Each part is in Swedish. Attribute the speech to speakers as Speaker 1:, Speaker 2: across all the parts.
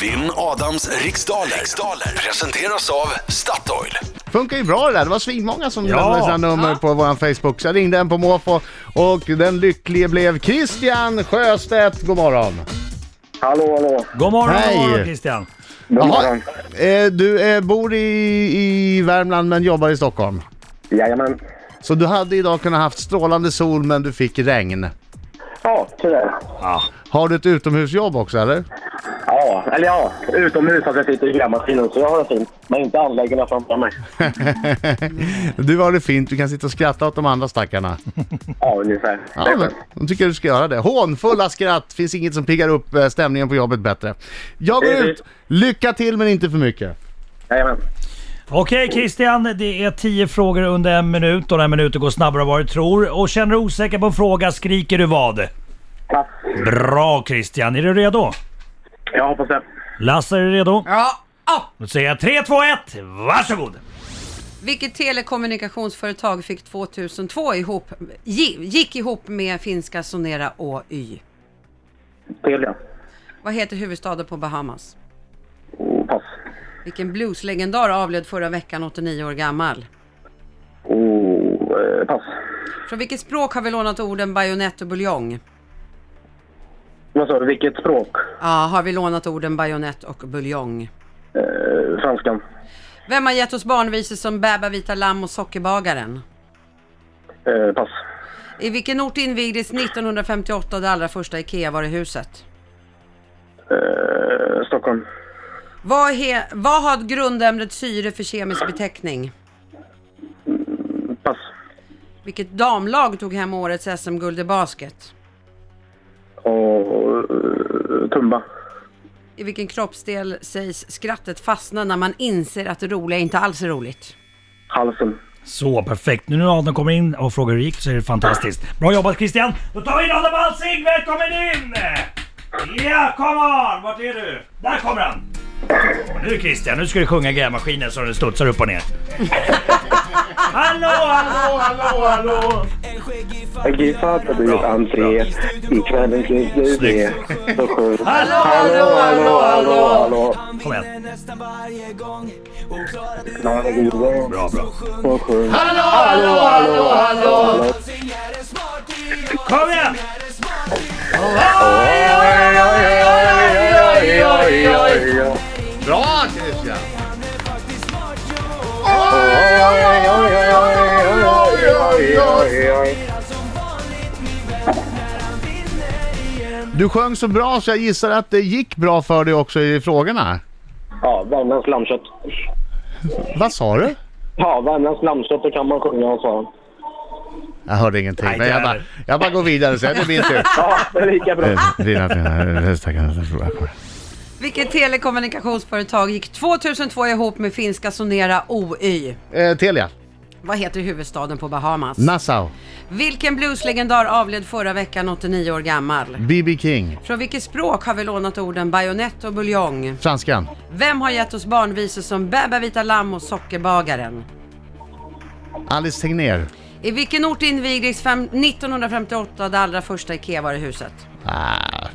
Speaker 1: Vinn Adams riksdaler. riksdaler presenteras av Statoil.
Speaker 2: Funkar ju bra det där. Det var svinmånga som
Speaker 3: Ja.
Speaker 2: lämnade sina nummer på vår Facebook. Så jag ringde en på måfå och den lycklige blev Christian Sjöstedt. God morgon.
Speaker 4: Hallå, hallå.
Speaker 3: God morgon,
Speaker 2: Hej.
Speaker 3: god morgon Christian.
Speaker 4: God
Speaker 2: Jaha,
Speaker 4: morgon.
Speaker 2: eh, du eh, bor i, i Värmland men jobbar i Stockholm.
Speaker 4: Jajamän.
Speaker 2: Så du hade idag kunnat haft strålande sol men du fick regn.
Speaker 4: Ja, tyvärr.
Speaker 2: Har du ett utomhusjobb också eller?
Speaker 4: Ja, eller ja, utomhus att jag sitter i grävmaskinen så jag har det fint. Men inte anläggningarna framför mig.
Speaker 2: du har det fint, du kan sitta och skratta åt de andra stackarna.
Speaker 4: Ja, ungefär.
Speaker 2: Ja, men de tycker du ska göra det. Hånfulla skratt, finns inget som piggar upp eh, stämningen på jobbet bättre. Jag går
Speaker 4: Precis.
Speaker 2: ut, lycka till men inte för mycket.
Speaker 4: Jajamän.
Speaker 3: Okej Christian, det är 10 frågor under en minut och den här minuten går snabbare än vad du tror. Och känner du osäker på en fråga skriker du vad?
Speaker 4: Pass.
Speaker 3: Bra Christian, är du redo?
Speaker 4: Jag hoppas det.
Speaker 3: Lasse, är du redo?
Speaker 5: Ja. Ah,
Speaker 3: Då säger jag 3, 2, 1, varsågod!
Speaker 5: vilket telekommunikationsföretag fick 2002 ihop, gi- gick ihop med finska Sonera och Y?
Speaker 4: Telia.
Speaker 5: Vad heter huvudstaden på Bahamas?
Speaker 4: Oh, pass.
Speaker 5: Vilken blueslegendar avled förra veckan 89 år gammal?
Speaker 4: Oh, eh, pass.
Speaker 5: Från vilket språk har vi lånat orden bajonett och buljong?
Speaker 4: Vad sa du? Vilket språk?
Speaker 5: Ja, har vi lånat orden bajonett och buljong?
Speaker 4: Eh, franskan.
Speaker 5: Vem har gett oss barnvisor som Bäba vita lamm och Sockerbagaren?
Speaker 4: Eh, pass.
Speaker 5: I vilken ort invigdes 1958 det allra första IKEA-varuhuset?
Speaker 4: Eh, Stockholm.
Speaker 5: Vad, he- vad har grundämnet syre för kemisk beteckning?
Speaker 4: Pass.
Speaker 5: Vilket damlag tog hem årets SM-guld i basket?
Speaker 4: Och eh, Tumba.
Speaker 5: I vilken kroppsdel sägs skrattet fastna när man inser att det roliga inte alls är roligt?
Speaker 4: Halsen.
Speaker 3: Så perfekt, nu när Adam kommer in och frågar hur det gick så är det fantastiskt. Bra jobbat Christian! Då tar vi in Adam Alsing, välkommen in! Ja, kom on! Vart är du? Där kommer han! Och nu Christian, nu ska du sjunga grävmaskinen så den studsar upp och ner. hallå, hallå, hallå, hallå!
Speaker 4: Jag gissar att du gjort entré i kvällens ljusduvning. Så skönt.
Speaker 3: Hallå,
Speaker 4: hallå, hallå, hallå, hallå.
Speaker 3: Kom igen.
Speaker 4: Nej, det är bra.
Speaker 3: Bra, bra.
Speaker 4: Så skönt.
Speaker 3: Hallå, hallå, hallå! Kom igen!
Speaker 2: Oj, oj, oj.
Speaker 4: Oj, oj,
Speaker 2: Bra Christian!
Speaker 4: oj, oj, oj.
Speaker 2: Du sjöng så bra så jag gissar att det gick bra för dig också i frågorna.
Speaker 4: Ja, Värmlands lammkött.
Speaker 2: Vad sa du?
Speaker 4: Ja, Värmlands lammkött, det kan man sjunga, sa han.
Speaker 2: Jag hörde ingenting,
Speaker 3: Nej,
Speaker 2: men jag
Speaker 3: där.
Speaker 2: bara, jag bara går vidare sen. Det är min tur.
Speaker 4: Ja, det är lika bra.
Speaker 2: Eh, dina fina hästar.
Speaker 5: Vilket telekommunikationsföretag gick 2002 ihop med finska Sonera OY?
Speaker 2: Eh, Telia.
Speaker 5: Vad heter huvudstaden på Bahamas?
Speaker 2: Nassau.
Speaker 5: Vilken blueslegendar avled förra veckan 89 år gammal?
Speaker 2: B.B. King.
Speaker 5: Från vilket språk har vi lånat orden bajonett och buljong?
Speaker 2: Franskan.
Speaker 5: Vem har gett oss barnvisor som Bäba vita lamm och Sockerbagaren?
Speaker 2: Alice Tegnér.
Speaker 5: I vilken ort invigdes fem- 1958 det allra första IKEA-varuhuset?
Speaker 2: Ah.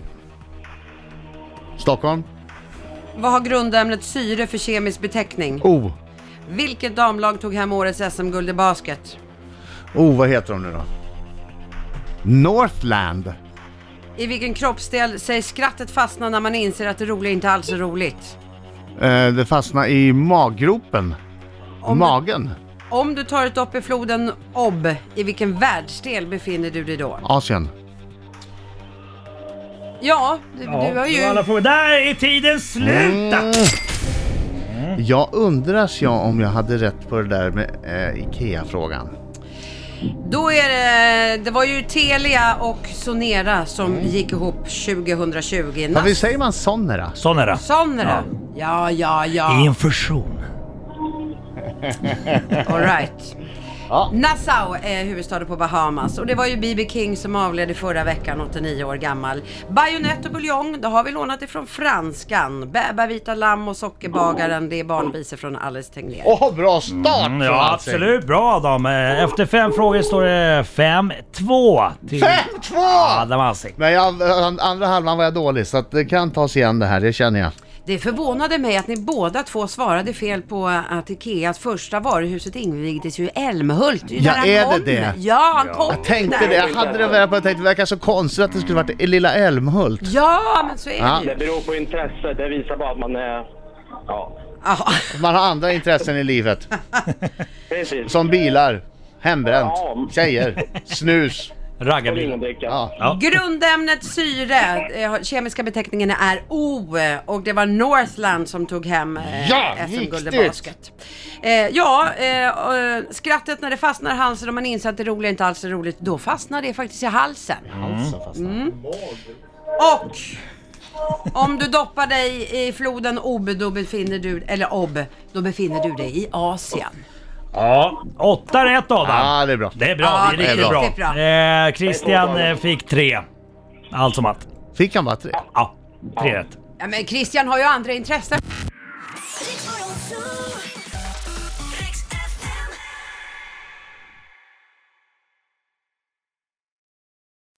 Speaker 2: Stockholm.
Speaker 5: Vad har grundämnet syre för kemisk beteckning?
Speaker 2: Oh.
Speaker 5: Vilket damlag tog hem årets SM-guld i basket?
Speaker 2: Oh, vad heter de nu då? Northland.
Speaker 5: I vilken kroppsdel sägs skrattet fastna när man inser att det roliga inte alls är roligt?
Speaker 2: Eh, det fastnade i maggropen. Magen.
Speaker 5: Om du tar ett dopp i floden Ob, i vilken världsdel befinner du dig då?
Speaker 2: Asien.
Speaker 5: Ja, du, du har ju... Mm.
Speaker 3: det var alla frågor. Där är tiden slut! Mm.
Speaker 2: Jag undrar jag om jag hade rätt på det där med eh, IKEA-frågan.
Speaker 5: Då är det... Det var ju Telia och Sonera som gick ihop 2020.
Speaker 2: Ja, visst säger man Sonera?
Speaker 3: Sån är det.
Speaker 5: Sonera! Ja, ja,
Speaker 3: I
Speaker 5: ja.
Speaker 3: en fusion.
Speaker 5: All right.
Speaker 2: Ja.
Speaker 5: Nassau är huvudstaden på Bahamas och det var ju B.B. King som avled i förra veckan, 89 år gammal. Bajonett och buljong, det har vi lånat ifrån franskan. Bäba, vita lamm och sockerbagaren, det är barnvisor från Alice Tegnér.
Speaker 2: Åh, bra start!
Speaker 3: Mm,
Speaker 2: får
Speaker 3: ja,
Speaker 2: man säga.
Speaker 3: absolut. Bra Adam. Eh, Efter fem frågor står det 5-2 till
Speaker 2: 5-2!
Speaker 3: Adam Alsing.
Speaker 2: Men jag, an- andra halvan var jag dålig, så att det kan tas igen det här, det känner jag.
Speaker 5: Det förvånade mig att ni båda två svarade fel på att Ikeas första varuhuset invigdes ju i Älmhult. ju
Speaker 2: Ja,
Speaker 5: där han
Speaker 2: är det
Speaker 5: kom.
Speaker 2: det?
Speaker 5: Ja, han kom
Speaker 2: Jag tänkte
Speaker 5: där.
Speaker 2: det, jag hade det väl på, jag tänkte det verkar så konstigt att det skulle varit i lilla Älmhult.
Speaker 5: Ja, men så är
Speaker 2: Ja.
Speaker 5: det
Speaker 4: Det
Speaker 5: ju.
Speaker 4: beror på intresse. Det visar bara att man är... Ja,
Speaker 5: Ja.
Speaker 2: Man har andra intressen i livet.
Speaker 4: precis.
Speaker 2: Som bilar, hembränt,
Speaker 4: Ja.
Speaker 2: tjejer, snus.
Speaker 4: Ingen
Speaker 6: Raggarbil.
Speaker 4: dricka.
Speaker 2: Ja.
Speaker 6: Ja.
Speaker 5: Grundämnet syre, eh, kemiska beteckningen är O och det var Northland som tog hem eh,
Speaker 2: Ja,
Speaker 5: SM-guld i
Speaker 2: viktigt.
Speaker 5: basket. Eh, ja, eh, eh, skrattet när det fastnar i halsen och man inser att det roliga inte alls är roligt, då fastnar det faktiskt i halsen. Mm. Och om du doppar dig i floden Ob, då befinner du, eller Ob, då befinner du dig i Asien.
Speaker 3: Ja, åtta rätt Adam.
Speaker 2: Ja, det är bra.
Speaker 3: Det är bra,
Speaker 5: Ja,
Speaker 3: det är riktigt bra.
Speaker 5: bra.
Speaker 3: Eh, Christian eh, fick tre. Allt som allt.
Speaker 2: Fick han bara tre?
Speaker 3: Ja, tre rätt.
Speaker 5: Ja, men Christian har ju andra intressen.
Speaker 7: Riksmorgon, så